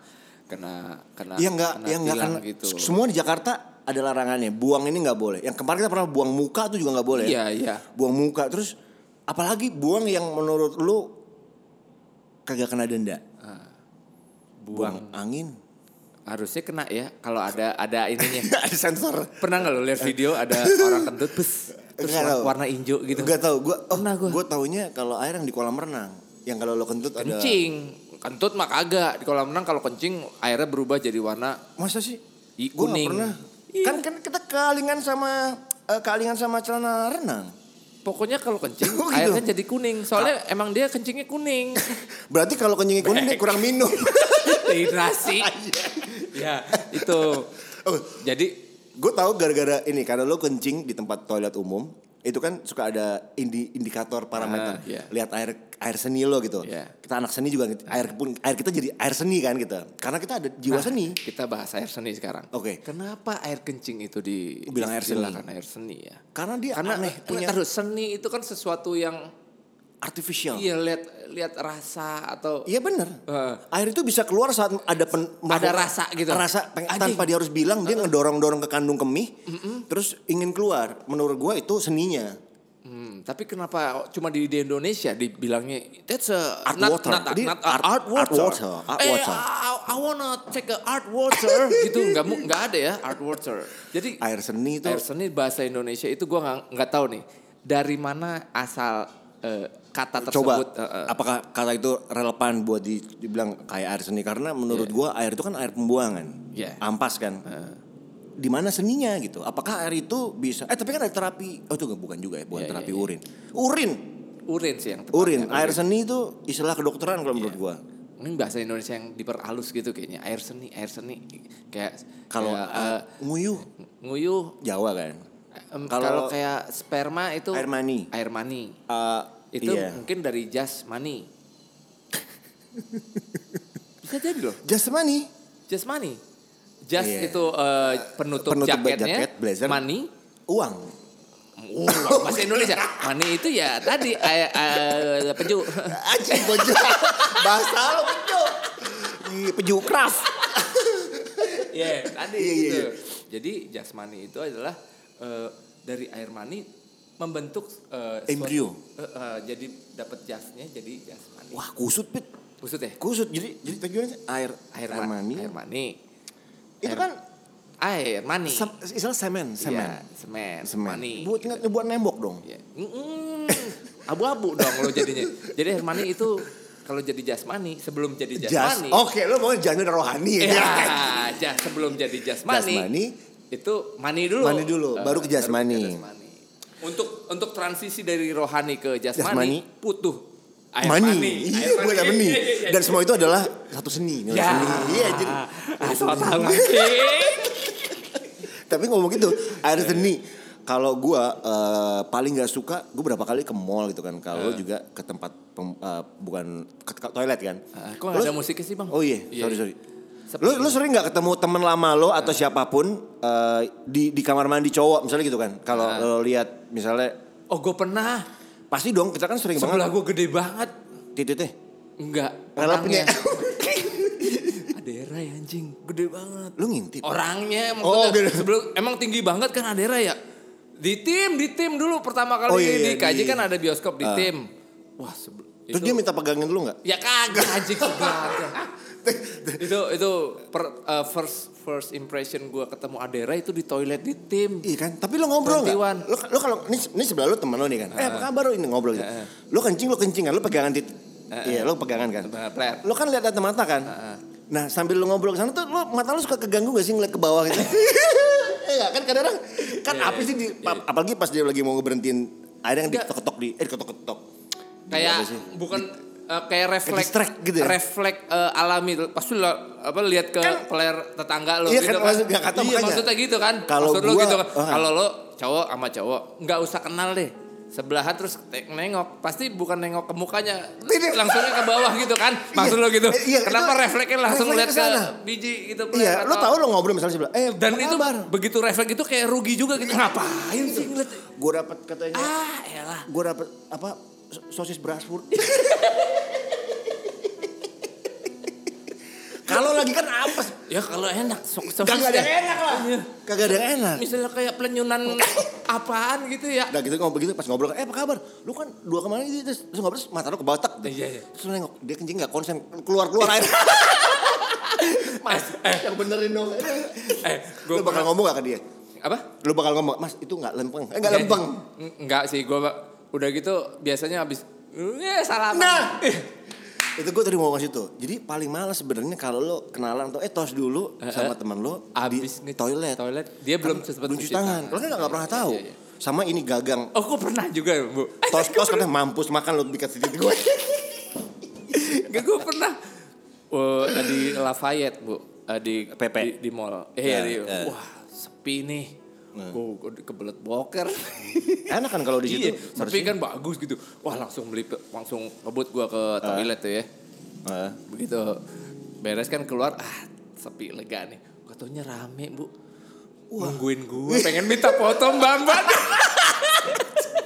kena kena.
Iya nggak,
kena
ya nggak
tilang
kan.
gitu.
Semua di Jakarta ada larangannya. Buang ini nggak boleh. Yang kemarin kita pernah buang muka tuh juga nggak boleh. ya.
Iya iya.
Buang muka terus apalagi buang yang menurut lu kagak kena denda.
Ah.
buang angin. [LAUGHS]
Harusnya kena ya kalau ada ada ininya.
ada sensor.
Pernah nggak lo lihat video
[LAUGHS]
ada orang kentut bus terus
Eh. Nggak tahu.
warna, warna hijau gitu.
Gak tau gue. Oh,
Pernah gua.
Gue taunya kalau air yang di kolam renang. Yang kalau lo kentut ada.
Kencing. Kentut mah kagak. Di kolam renang kalau kencing airnya berubah jadi warna
Masa sih?
I-
Gua nggak
kuning.
pernah.
Iya.
Kan kan kita kealingan sama eh, kealingan sama celana renang.
Pokoknya kalau kencing
Oh, gitu. Ah.
airnya jadi kuning. Soalnya emang dia kencingnya
[LAUGHS]
kuning.
Berarti kalau kencingnya kuning dia kurang
[LAUGHS]
minum.
Dehidrasi. ya,
Iya.
itu.
Oh.
Jadi
Gue tahu gara-gara ini karena lo kencing di tempat toilet umum itu kan suka ada indi, indikator
Ah,
parameter
iya.
lihat air air seni lo gitu
Iya.
kita anak seni juga gitu. air pun air kita jadi air seni kan kita karena kita ada
Nah.
jiwa seni
kita bahas air seni sekarang.
Oke.
Kenapa air kencing itu di
Bilang air seni.
diistilahkan air seni ya?
karena dia
Karena
aneh punya Oh.
terus seni itu kan sesuatu yang
artificial
iya lihat lihat rasa atau eh,
iya bener
Heeh.
air itu bisa keluar saat ada pen, makhluk-
rasa gitu.
rasa
Anjing.
peng-
Uh-uh.
tanpa dia harus bilang dia ngedorong dorong ke kandung kemih terus ingin keluar menurut gue itu seninya
Hmm, tapi kenapa cuma di, di Indonesia dibilangnya that's a
Art water.
not,
Jadi,
not a
art-
art,
art
water.
water, art
eh,
water.
I, I wanna take a art
[LAUGHS]
water gitu nggak mu- nggak ada ya art water. Jadi
air seni itu
air seni bahasa Indonesia itu gua nggak nggak tahu nih. dari mana asal eh, kata
Coba,
tersebut? Eh, eh.
apakah kata itu relevan buat di- dibilang kayak air seni? Karena menurut gua air itu kan air pembuangan,
Iya.
ampas kan. Di mana seninya gitu? Apakah air itu bisa? Eh tapi kan ada terapi. Oh itu bukan juga ya, bukan
Iya,
terapi
iya, iya.
urin. Urin,
urin Iya. sih yang tepatnya,
urin. Air seni itu istilah kedokteran kalau menurut gua.
Mungkin bahasa Indonesia yang diperhalus gitu kayaknya. Air seni, air seni kayak
Kalau
kayak, eh,
eh, nguyuh
nguyuh
Jawa kan.
em,
Kalau-
kalau kayak sperma itu
Air mani.
Air mani.
Eh,
Itu
iya.
mungkin dari jas
[LAUGHS]
mani. Bisa jadi loh.
jasmani.
Jas mani. Jas
Iya.
itu eh, penutup,
Penutup
jaketnya,
jaket, blazer.
mani.
Uang.
Uh, bahasa
[LAUGHS]
Indonesia. Mani itu ya tadi air, air, eh, penju.
Anjing bojo.
[LAUGHS]
Bahasa lo peju. Ih, Peju keras.
Iya, [LAUGHS] tadi
Iya, iya,
gitu.
iya.
Jadi jasmani itu adalah eh, dari air mani membentuk eh, suatu-
Embrio.
eh, eh, jadi dapat jasnya jadi jasmani.
Wah, kusut pit.
Maksud ya?
Kusut. Jadi jadi tujuannya air
Air,
air
ma-
mani.
Air mani.
Itu
air-
kan
Air mani.
sem- istilah semen, semen.
Iya, semen.
Semen.
Mani.
Buat ingat buat nembok dong.
Iya. Mm-mm. Abu-abu dong lo jadinya. Jadi air mani itu kalau jadi jasmani sebelum jadi
Jas.
jasmani.
Oke, lo mau jangan rohani ya.
Ya, jas sebelum jadi jasmani.
Jasmani.
Itu mani dulu.
Mani dulu,
Eh,
baru ke jasmani.
Untuk untuk transisi dari rohani ke
Jasmani.
jasmani, butuh air
Mani.
mani.
Iya, buat air mani. Dan semua itu adalah satu seni, nilai
Ya.
seni. Iya, jadi
Asal tahu anjing.
[LAUGHS] Tapi ngomong gitu, air seni. Kalau gua eh, paling gak suka, gue berapa kali ke mall gitu kan. Kalau lu juga ke tempat pem- eh, bukan ke, ke toilet kan.
Ah, Kok nggak
Lu-
ada musiknya sih bang?
Oh iya, sorry sorry. Lu,
Sepi.
lu sering nggak ketemu teman lama lo atau siapapun eh, di di kamar mandi cowok misalnya gitu kan? Kalau lo lihat misalnya
Oh gue pernah.
pasti dong kita kan sering
Sebelah
banget
gue gede banget.
tititnya.
Enggak. [LAUGHS]
Ngelapnya.
orangnya. Adera ya anjing, gede banget.
Lu ngintip.
Orangnya
Oh,
maksudnya
gede.
sebelum emang tinggi banget kan Adera ya. Di tim, di tim dulu pertama kali
Oh, iya,
di
iya,
KJ
di- Ah.
kan ada bioskop di tim. Wah, sebelum
Terus dia minta pegangin lu nggak?
ya kagak anjing sebelahnya. itu itu per- eh, first first impression gua ketemu Adera itu di toilet di tim.
Iya kan? Tapi lo ngobrol nggak?
21.
Lo, lo kalau ini, ini sebelah lo temen lo nih kan? Eh apa kabar lo ini ngobrol gitu? Lo kencing lo kencing kan? Lo pegangan titik. Iya lo pegangan kan?
Benar, player.
Lo kan lihat mata mata kan? Nah sambil lo ngobrol kesana tuh lo mata lo suka keganggu gak sih ngeliat ke bawah [LAUGHS] gitu? Iya nggak? kan kadang kan apa sih di, ap- apalagi pas dia lagi mau berhentiin ada yang diketok-ketok di eh diketok-ketok. Di apa
kayak
sih?
bukan eh, kayak refleks
distract gitu ya?
refleks eh, alami pasti lo apa lihat ke player tetangga lo
Iya
gitu
kan, maksud- nggak kata
Iya,
makanya.
maksudnya gitu kan
Kalau
maksud lo
gua-
gitu kan
ah.
kalau lo cowok sama cowok nggak usah kenal deh sebelahan terus te- nengok pasti bukan nengok ke mukanya
Tidak.
langsungnya ke bawah gitu kan maksud lo gitu
Eh, iya,
kenapa
itu
refleksnya langsung lihat
refleksnya ke
ke
sana.
biji gitu player
Iya, lo
atau-
tau lo ngobrol misalnya sebelah, eh
dan
apa
itu
kabar?
begitu refleks itu kayak rugi juga gitu ngapain sih ngeliat
Gue dapat katanya,
ah elah
gue dapat apa so- sosis [LAUGHS] Brasford. Kalau lagi kan apes,
ya kalau enak sok sok
kagak ada yang enak lah. Kagak ada yang enak.
misalnya kayak pelenyunan apaan gitu ya
Nah gitu ngomong begitu pas ngobrol, eh apa kabar? Lu kan dua kemarin gitu terus, terus ngobrol terus mata lu kebatak. tuh.
Iya, iya.
Terus lu nengok dia kencing nggak konsen keluar keluar
[LAUGHS]
air. Mas, yang benerin dong.
eh gue
Lu bakal ngomong gak ke dia?
apa
Lu bakal ngomong, Mas itu nggak lempeng, eh
Iya,
nggak lempeng.
N- enggak sih gue udah gitu biasanya habis eh salam
Nah! itu gue tadi mau ngasih tuh. Jadi paling males sebenarnya kalau lo kenalan tuh eh tos dulu sama teman lo
abis
di
nge-
toilet.
toilet dia belum sempet
Belum cuci tangan. Lo kan nggak pernah tahu.
iya,
Sama ini gagang.
oh gue pernah juga bu
[LAUGHS] Tos tos katanya mampus makan lo dikasih
[LAUGHS]
titik gue.
Enggak gue pernah Oh, di Lafayette bu Eh, di
PP.
di, di mall eh
Ya,
di,
ya.
wah sepi nih
Nah.
Gue kebelet boker [LAUGHS]
Enak kan kalau di situ.
Iya, sepi kan bagus gitu. Wah langsung beli langsung ngebut gua ke
Ah.
toilet tuh ya.
Heeh.
Begitu beres kan keluar ah sepi lega nih. Katanya rame bu. Nungguin gue pengen minta foto Mbak Mbak. [LAUGHS]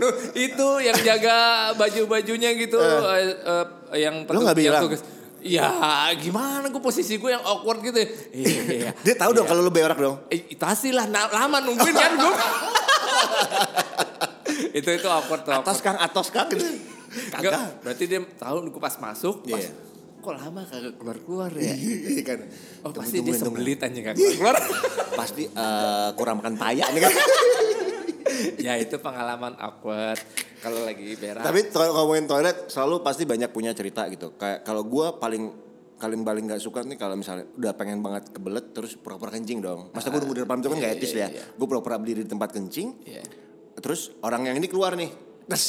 Nuh, itu yang jaga baju-bajunya gitu eh, eh, yang
Lu nggak
petu- yang
bilang?
tugas. Ya gimana gue posisi gue yang awkward gitu. ya. Iya, iya.
[LAUGHS] Dia tahu dong kalau lo berak dong.
Eh, tasi lah,
Nah,
na- lama nungguin kan gue. [LAUGHS] itu itu awkward tuh.
Atas
awkward.
kang, atas kang. gitu.
Enggak,
Kagak.
berarti dia tahu gue pas masuk, pas
Iya.
kok lama kagak keluar keluar ya.
Iya kan.
Oh
Tunggu,
pasti dia
[LAUGHS] tungguin, tungguin.
sembelit anjing kagak keluar.
Pasti eh, kurang makan paya nih kan.
ya itu pengalaman awkward kalau lagi berak.
[LAUGHS] Tapi kalau ngomongin toilet selalu pasti banyak punya cerita gitu. Kayak kalau gua paling paling paling nggak suka nih kalau misalnya udah pengen banget kebelet terus pura-pura kencing dong. Masa gua nunggu di depan itu kan
Iya,
nggak
iya,
etis
iya,
ya.
iya.
Gua pura-pura berdiri di tempat kencing.
Iya.
Terus orang yang ini keluar nih. Terus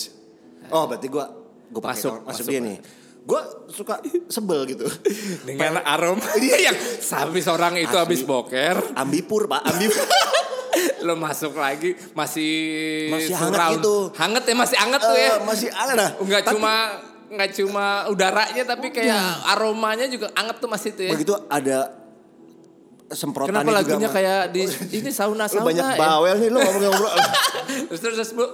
oh berarti gua gua pakai
Masuk,
orang- masuk,
masuk.
dia nih. Gua suka sebel
[LAUGHS]
gitu.
dengan [LAUGHS] aroma yang habis Iya, orang itu
Asli.
habis boker
Ambipur, Pak. Ambipur.
lo masuk lagi masih
Masih hangat
surround.
gitu.
Hangat ya masih hangat tuh ya
Eh, masih ada dah.
nggak cuma nggak cuma udaranya tapi kayak aromanya juga hangat tuh masih tuh ya
Iya. begitu ada semprotannya
kenapa lagunya
juga.
kayak di ini sauna
Lu
sauna
banyak
ya?
bawel nih lu ngobrol-ngobrol.
[LAUGHS] terus terus terus, bu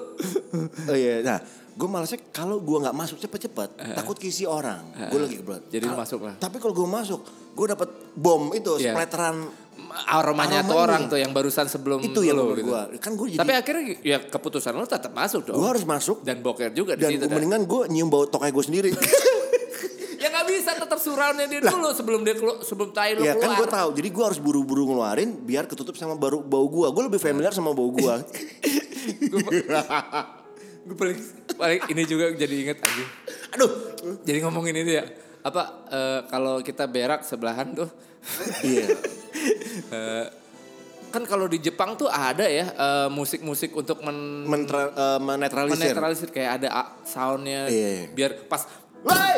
[LAUGHS] Oh iya, nah gue malasnya kalau gue nggak masuk cepet-cepet,
Eh,
takut kisi orang. Gue lagi kebelet.
Jadi lu
Kalau-
masuk lah.
Tapi kalau gue masuk, gue dapat bom itu,
Iya.
splatteran
aromanya tuh
Aromanya.
orang tuh yang barusan sebelum
itu yang
lo
menurut
gitu.
gue. Kan gue jadi,
tapi akhirnya ya keputusan lo tetap masuk dong
gue harus masuk
dan boker juga
dan
di situ
gua-
kan?
mendingan gue nyium bau tokai gue sendiri.
[LAUGHS] ya nggak bisa tetap surroundnya dia dulu sebelum dia kelu- sebelum tai lo
ya
keluar
kan gue tahu. Jadi gue harus buru-buru ngeluarin biar ketutup sama baru bau gue. Gue lebih familiar sama bau gue.
[LAUGHS] gue paling paling ini juga jadi inget aja
Aduh,
jadi ngomongin ini ya apa eh, kalau kita berak sebelahan tuh
iya.
kan kalau di Jepang tuh ada ya eh, musik-musik untuk men
Mentra- eh, menetralisir.
menetralisir kayak ada a- soundnya
Iya.
biar pas
Woi!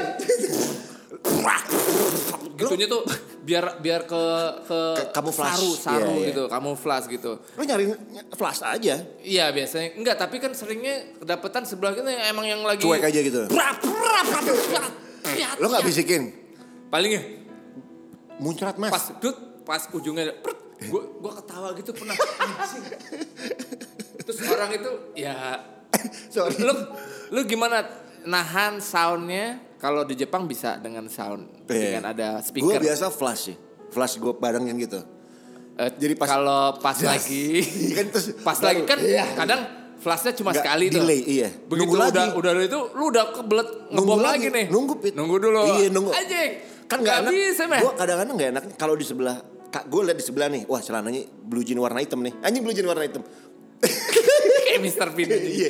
gitunya tuh biar biar ke ke
Ke- camouflage.
saru saru
Iya, iya.
gitu kamuflas gitu
Lu nyari ny- flash aja.
iya biasanya enggak tapi kan seringnya kedapetan sebelah kita yang emang yang lagi
Cuek aja gitu.
Prak, prak, prak, prak, prak.
Lu nggak bisikin.
paling ya
Muncrat mas.
pas dut pas ujungnya gue gue ketawa gitu
[LAUGHS]
pernah anjing. terus orang itu ya
Sorry.
lu lu gimana nahan soundnya kalau di Jepang bisa dengan sound
Iya.
dengan ada
Gue
speaker
biasa flash sih. Flash gue barengin gitu.
Eh,
jadi pas-
kalau pas
[LAUGHS]
lagi
Iya kan terus
pas
baru-
lagi kan
iya.
kadang flashnya cuma
Nggak,
sekali tuh
delay, iya.
begitu
Nunggu
udah
lagi.
udah dari itu lu udah kebelet
Nunggu
ngebom lagi,
lagi,
nih
nunggu, Pit.
nunggu dulu
Iya, nunggu.
anjing
Kan gak, enak.
bisa meh
Gue kadang-kadang gak enak kalau di sebelah. Kak gue liat di sebelah nih. Wah celananya blue jean warna hitam nih. Anjing blue jean warna hitam.
kayak gitu. Mr.
[LAUGHS]
Bean anjing.
Iya.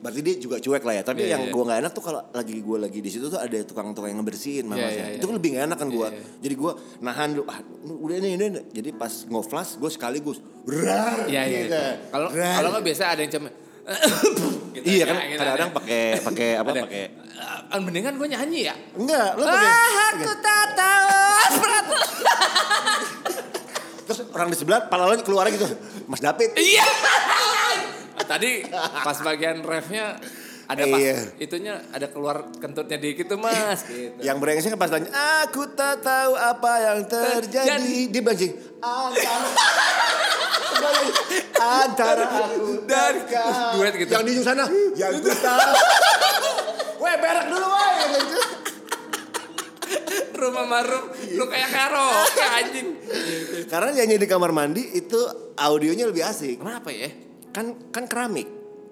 Berarti dia juga cuek lah ya. Tapi
Iya,
yang
iya.
gue gak enak tuh kalau lagi gue lagi di situ tuh ada tukang-tukang yang ngebersihin mama
Iya,
saya.
iya, iya.
Itu lebih gak enak kan gue. Jadi gue nahan dulu. Ah, udah nih, udah nih. Jadi pas ngoflas gue sekaligus. Rar.
Iya iya.
gitu.
Kalau
Rar.
kalau nggak biasa ada yang cuma gitu
Iya
aja,
kan
gitu
kadang-kadang
aja.
pakai pakai apa
Ada.
pakai
Eh, mendingan gue nyanyi ya.
Enggak, lo pakai.
aku tak
[LAUGHS]
tahu. Berat.
Terus orang di sebelah pala lo keluar gitu. Mas David.
Iya. Tadi pas bagian refnya ada pas
Iya.
itunya ada keluar kentutnya dikit tuh mas. Gitu.
Yang brengseknya pas tanya, aku tak tahu apa yang terjadi.
Terjadi.
Dia bancing, antara, [LAUGHS] antara aku dan
Dan-
kau.
duet gitu.
Yang di ujung sana, yang ku
[LAUGHS]
tahu. Weh berak dulu weh. Gitu.
Rumah marum lu kayak karaoke anjing.
Karena nyanyi di kamar mandi itu audionya lebih asik.
Kenapa ya?
Kan kan keramik.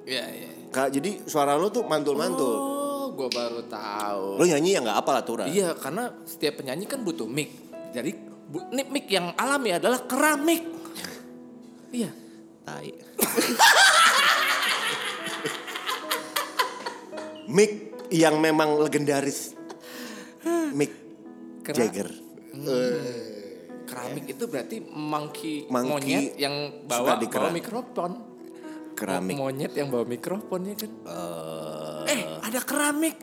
Iya iya.
Kak, jadi suara lo tuh mantul-mantul.
Oh, gue baru tahu.
Lo nyanyi ya nggak apa lah Tura.
Oh. Iya, karena setiap penyanyi kan butuh mic. Jadi bu, ini mic yang alami adalah keramik. iya.
Tai. Mick yang memang legendaris. Mick
Kera-
Jagger.
Keramik itu berarti monkey,
Monkey
monyet yang
suka
bawa
di
bawa
keram-
mikrofon.
Keramik.
Monyet yang bawa mikrofon ya kan. eh, ada keramik.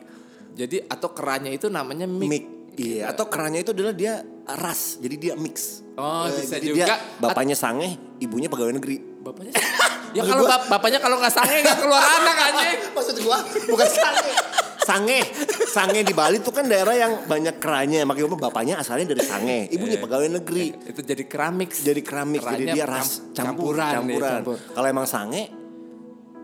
Jadi atau keranya itu namanya mic.
Mick. Iya, atau kerannya itu adalah dia ras, jadi dia mix.
Oh,
Eh,
bisa
jadi
juga.
Dia bapaknya sange, ibunya pegawai negeri.
Bapaknya Ya
Maksud
kalau
gua-
bap- bapaknya kalau nggak sange nggak keluar anak anjing.
Maksud gua bukan [LAUGHS] sange. Sange, sange di Bali tuh kan daerah yang banyak keranya, makanya bapaknya asalnya dari sange, ibunya pegawai negeri.
Itu jadi keramik.
jadi keramik jadi
Keranya
dia ras
camp-
campuran campuran,
ya, campur.
kalau emang sange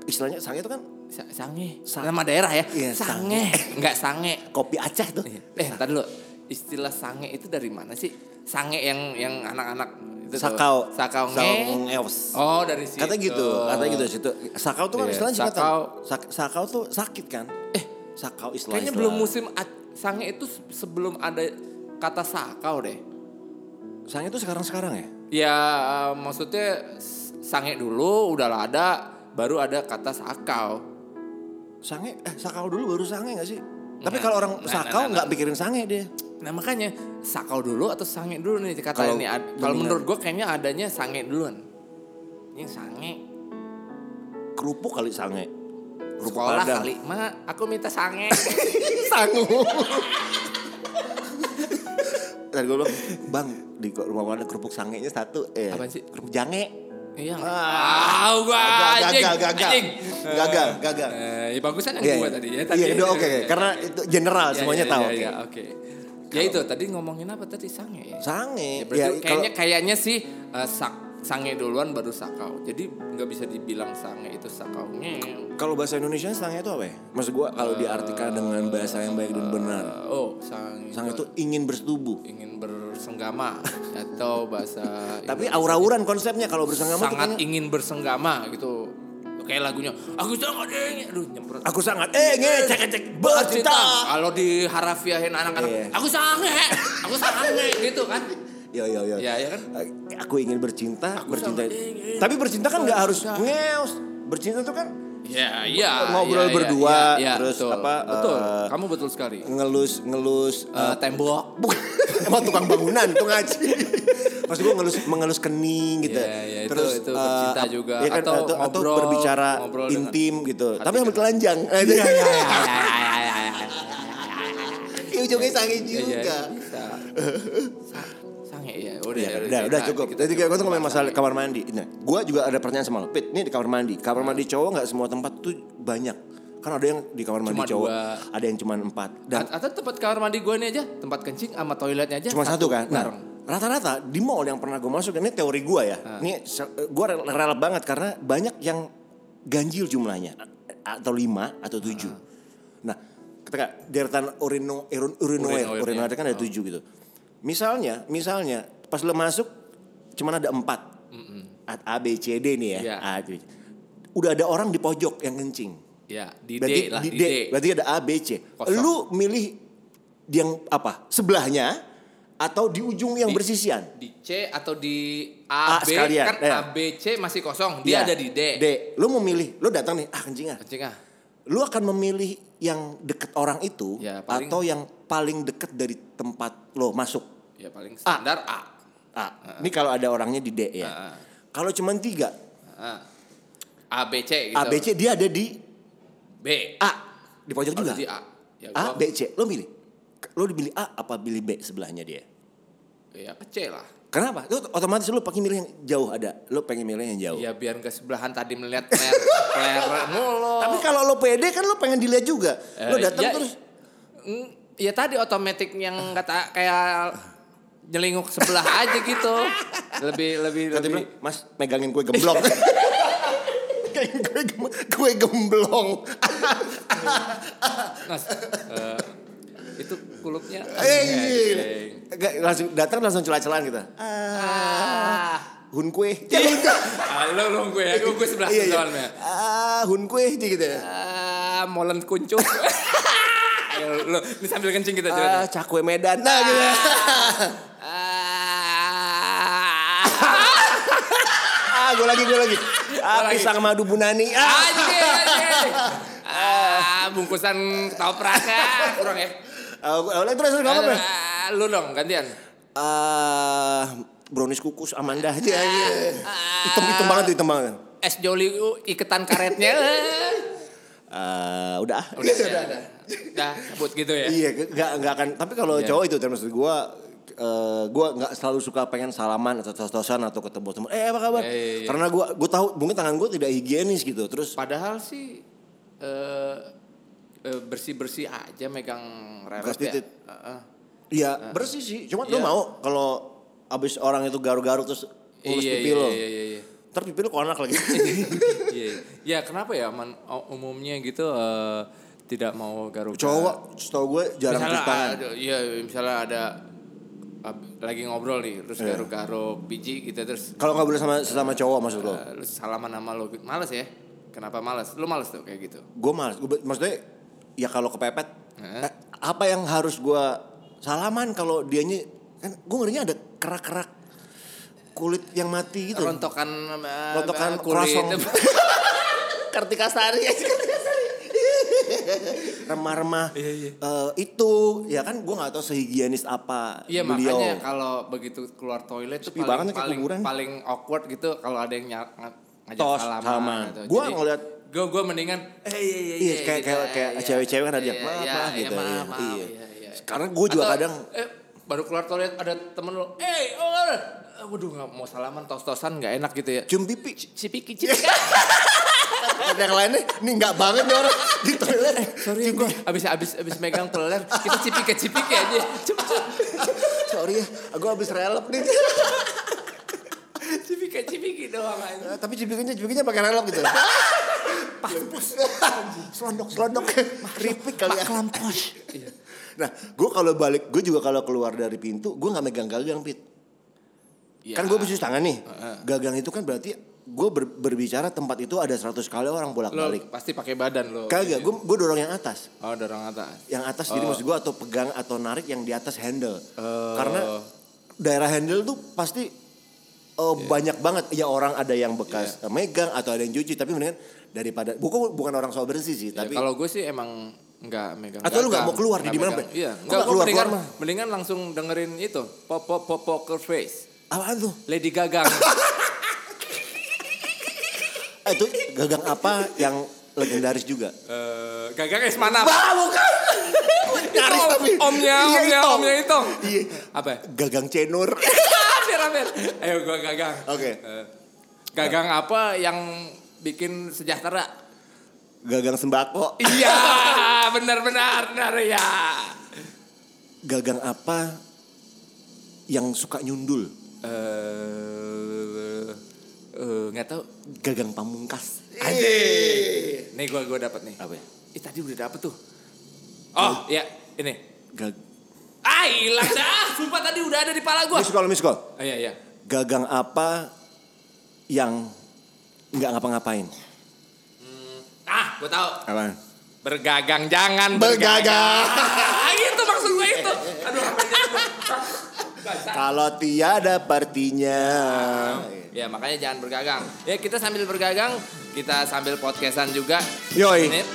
istilahnya sange itu kan
Sa- Sange. Nama daerah ya?
Iya,
sange. Enggak sange.
kopi Aceh tuh
Eh, ntar dulu. Istilah sange itu dari mana sih? Sange yang yang anak-anak itu tuh.
sakau
Sakau nge.
ngeos
Oh, dari situ.
katanya gitu katanya gitu situ sakau tuh kan
Iya,
istilahnya singkatan
sakau.
Sak- sakau tuh sakit kan eh sakau istilah
Kayaknya belum musim a- sange itu se- sebelum ada kata sakau deh.
sange tuh sekarang sekarang ya
eh, Ya maksudnya s- sange dulu udahlah ada baru ada kata sakau.
Sange, eh sakau dulu baru sange gak sih? Tapi kalau orang
Nah, nah,
sakau
nah,
nggak pikirin sange dia.
Nah makanya sakau dulu atau sange dulu nih kata
Kalau
ini. Ad- Kalau
mendingan.
menurut gue kayaknya adanya sange duluan. Ini sange.
Kerupuk kali sange. Kerupuk
Sekolah
Padang.
kali, mak aku minta
[LAUGHS]
sange.
Sangu. Tadi gue
[LAUGHS]
bilang, bang di rumah gua ada kerupuk sangenya satu. Eh,
Apaan sih?
Kerupuk jange.
Iya.
Ah.
Tahu gua anjing.
Gagal, gagal.
anjing.
Gagal, gagal.
Eh, ya bagusan yang
Iya,
gua
iya.
tadi ya. Tadi
Iya,
itu,
udah oke.
iya,
Karena
iya.
itu general
Iya,
semuanya
iya,
tahu.
iya,
oke.
iya, Oke. Ya itu tadi ngomongin apa tadi sange ya. Ya,
Sange.
berarti
Ya,
kayaknya
kalau-
kayaknya sih eh, sak- sange duluan baru sakau. Jadi nggak bisa dibilang sange itu sakau. Ngeo.
kalau bahasa Indonesia sange itu apa ya? Maksud gua kalau diartikan dengan bahasa yang baik dan benar.
Eh, oh, sange.
Sange itu ingin bersetubuh.
ingin
[LAUGHS]
bersenggama atau bahasa
Tapi
Indonesia.
aura-auran konsepnya kalau bersenggama tuh
Iya. sangat
kayaknya,
ingin bersenggama gitu. Kayak lagunya aku sangat ingin aduh nyemprot kan,
aku sangat eh ngecek cek bercinta.
Kalau diharfiahin anak-anak,
Iya.
aku
[LAUGHS]
sange, aku sange gitu kan.
Yo yo yo.
Iya, iya kan?
Eh, Aku ingin bercinta,
Aku
bercinta.
sangat ingin
Tapi bercinta kan nggak harus
bercinta.
ngeus. Bercinta tuh kan
Ya, iya.
Ngobrol berdua, terus
betul.
apa,
Betul.
eh,
Kamu betul sekali.
ngelus ngelus
Eh, tembok.
Bukan, [LAUGHS] emang tukang bangunan tuh ngaji. Maksud gue ngelus mengelus kening gitu.
Iya, iya, itu-
Terus
itu
eh,
bercinta
ap-
juga.
iya kan, atau,
Atau
atau
ngobrol-
berbicara
ngobrol dengan
intim gitu.
hati
Tapi sambil
kita.
telanjang. Iya iya [LAUGHS] iya. Ujungnya sange
Iya, iya,
juga.
bisa. Sa- Sange ya, udah
Iya,
ya,
udah,
kita-
udah cukup.
kita
Jadi kita
cukup iya.
tuh ngomongin
bahas
masalah kamar mandi. Nah, gue juga ada pertanyaan sama lo. Pit, ini di kamar mandi. Kamar mandi
Nah.
cowok nggak semua tempat tuh banyak. Kan ada yang di kamar mandi
Cuma
cowok,
dua.
ada yang cuma empat. Dan
A- Atau tempat kamar mandi gue ini aja, tempat kencing sama toiletnya aja.
cuma satu, kan Nah,
Bareng.
rata-rata di mall yang pernah gue masuk ini teori gue ya ini se- gue rel- rela banget karena banyak yang ganjil jumlahnya A- atau lima atau tujuh nah ketika deretan urino urino urinoir
Urinoirnya.
urinoir kan ada tujuh gitu misalnya misalnya pas lo masuk cuman ada empat A, A, B C D nih
Iya.
ya A, B, C. udah ada orang di pojok yang kencing
Ya, di D
berarti
lah,
di
di
D.
D.
Berarti ada A B C.
Kosong.
Lu milih yang apa? Sebelahnya atau di ujung yang
Di-
bersisian?
Di C atau di A,
A
B,
sekalian,
kan
iya.
A, B, C masih kosong. Dia
Iya.
ada di D.
D. Lu memilih, lu datang nih, ah kencing ah.
Kencing ah.
Lu akan memilih yang deket orang itu
Ya, paling-
atau yang paling deket dari tempat lo masuk?
Ya paling standar A.
A. Ini kalau ada orangnya di D ya.
Ah.
Kalau cuman tiga,
A, A B C gitu.
A B C dia ada di
B.
A di pojok
Oh,
juga.
jadi A. Ya,
A
gua-
B C, lu milih. Lu pilih A apa pilih B sebelahnya dia?
Ya ke C lah.
Kenapa? Lu otomatis lu pakai milih yang jauh ada. Lu pengen milih yang jauh.
Ya biar ke sebelahan tadi melihat player, player mulu.
Tapi kalau lu pede kan lu pengen dilihat juga.
Eh,
lu datang
ya-
terus
Mm, Ya tadi otomatis yang kata kayak nyelinguk sebelah aja gitu. Lebih lebih
Kata
lebih.
bilang, "Mas, megangin kue gemblong." [LAUGHS] Megangin kue gem- kue gemblong.
Mas, eh, itu kulupnya. Iya,
Eh,
anjing.
Nggak, langsung datang langsung celah-celahan kita.
Ah.
Hun kue.
[LAUGHS]
Ya, hun kue.
Ah, lo lo gue ya, gue, gue sebelah
Iya,
iya,
iya.
soalnya.
Ah, hun kue aja gitu.
Ah, molen kuncup.
[LAUGHS]
Ayo, lo, ini sambil kencing kita
Ah,
jalan.
cakwe Medan. Nah, gitu.
Ah, [LAUGHS]
Ah, gue lagi, gue lagi. Ah,
Gua lagi.
pisang madu Bunani. Ah,
anjing, anjing. Ah, bungkusan ketoprak ah, kurang ya.
Ah, gua- oleh terus terus, nggak apa-apa.
Ah, lu dong gantian.
Ah, brownies kukus Amanda aja.
Ah,
Hitam hitam banget, tuh, hitam banget.
Es joli uh, iketan karetnya.
[LAUGHS]
Ah,
Ah, udah. ah.
Udah, ya, udah. Udah, cabut gitu ya.
Iya, nggak nggak akan. Tapi kalau
Iya.
cowok itu termasuk gua eh, gua nggak selalu suka pengen salaman atau tos-tosan atau ketemu teman. Eh apa kabar?
Iya, iya, iya.
Karena gua gua tahu mungkin tangan gua tidak higienis gitu. Terus
Padahal sih eh bersih bersih aja megang rewet ya.
Bekas titit.
Heeh.
ya bersih sih. Cuma lu
Ah. Iya.
mau kalau abis orang itu garu-garu terus ngurus
Iya,
pipi
iya,
lo.
Iya iya
[LAUGHS]
iya.
Ntar pipi lo konak lagi. [LAUGHS]
Iya. Ya kenapa ya man, umumnya gitu eh, tidak mau garuk.
cowok setahu gue jarang cuci
misalnya,
tangan.
ada- Iya misalnya ada ab- lagi ngobrol nih terus
Iya.
garuk-garuk biji gitu terus
Kalau nggak boleh sama sesama cowok maksud lo?
eh, lu salaman sama lo males ya kenapa males lu males tuh kayak gitu
gue malas Gua- maksudnya ya kalau kepepet
Heeh.
eh, apa yang harus gue salaman kalau dianya kan gue ngerinya ada kerak-kerak kulit yang mati gitu
rontokan eh,
Rontokan [LAUGHS]
kulit [LAUGHS]
kosong. [LAUGHS] Kartika Sari. Remah-remah
Iya,
eh, itu ya kan gue nggak tahu sehigienis apa
Iya
beliau.
makanya kalau begitu keluar toilet tuh
Sepi
paling
banget ya
paling,
kuburan.
paling awkward gitu kalau ada yang nyar- ng- ngajak
Tos,
salaman. gitu.
salaman. Gua ngeliat-
gue gue mendingan eh iya iya
Iya, kayak kayak kayak cewek-cewek kan ada
iya,
yang maaf
iya,
maaf
iya,
gitu.
maaf,
ya.
maaf,
Iya.
iya, iya.
Sekarang gue juga
Atau,
kadang
eh baru keluar toilet ada temen lo, eh oh, eh, waduh nggak mau salaman tos-tosan nggak enak gitu ya.
cium pipi.
Cipiki
[LAUGHS]
cipiki.
Ada yang lainnya, nih nggak banget nih orang di toilet.
Eh,
Sorry ya gue,
abis abis abis megang peler kita cipika cipiki aja. Cep cep
sorry ya, gue habis relep nih.
cipika cipiki doang aja.
Eh, Tapi cibikannya cibikannya pakai relep gitu. Pampus. selondok selondok. Keripik kali ya. Nah, gue kalau balik, gue juga kalau keluar dari pintu, gue nggak megang gagang pit.
Iya.
Kan gue bercuci tangan nih. Gagang itu kan berarti gue ber- berbicara tempat itu ada 100 kali orang bolak
lo
balik.
pasti pakai badan lo.
Kagak, Ya, gue gue dorong yang atas.
Oh dorong atas.
Yang atas jadi maksud gue atau pegang atau narik yang di atas handle. Karena daerah handle tuh pasti eh, banyak banget ya orang ada yang bekas eh, megang atau ada yang cuci tapi mendingan daripada bukan bukan orang soal bersih sih
Ya,
tapi
kalau gue sih emang nggak megang.
Atau lu
gagang,
nggak mau keluar di
nggak
mana,
megang. Iya.
Bre? Gua
Nggak
nggak
keluar
keluar-keluar
mendingan,
mah.
mendingan langsung dengerin itu pop pop pop poker face.
apaan tuh
Lady Gagang.
Eh, itu gagang apa yang legendaris juga
Eh, gagang es mana?
Bah, bukan. Nyaris tapi.
Omnya,
Iya,
omnya,
Itong.
omnya itu.
Iya.
Apa?
Gagang cenur.
Hampir, hampir. Ayo gue gagang.
Oke.
Eh, gagang apa yang bikin sejahtera?
Gagang sembako.
Iya, benar-benar, benar ya.
Gagang apa yang suka nyundul?
Eh, eh, nggak tahu.
Gagang pamungkas.
Nih gue gue dapat nih.
Apa ya?
Eh tadi udah dapet tuh. Oh iya ini.
Gag
Ah hilang dah. Sumpah tadi udah ada di pala gua.
miss call, miss call.
Oh, iya iya.
Gagang apa yang nggak ngapa-ngapain?
Ah gua tahu.
Apa?
Bergagang jangan
Bergagang.
Ah itu maksud gua itu. Aduh apa ini? Basah.
Kalau tiada partinya.
Ya makanya jangan bergagang. Ya kita sambil bergagang, kita sambil podcastan juga.
Yoi.
Menit.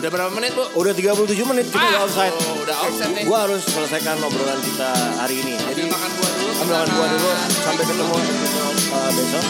Udah berapa menit bu?
Udah 37 menit kita
Ah,
udah offside.
oh, udah offside nih.
Gua harus selesaikan obrolan kita hari ini. Jadi
Ambil makan buah dulu.
ambil makan gua dulu sampai ketemu uh, besok.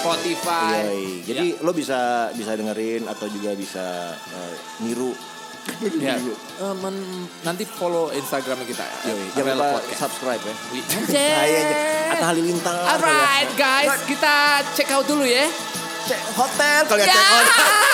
Spotify.
Yoi. Jadi
Iya.
lo bisa bisa dengerin atau juga bisa uh, niru.
Ya. Eh, men- nanti follow Instagram kita. ya.
Yoi. Jangan
Apel
lupa
Podcast.
subscribe ya. Kayaknya Atta
Anjir.
Halilintar. kali ya.
Alright guys, kita check out dulu ya.
Cek hotel kali ya.
Ya. [LAUGHS]
Cek hotel.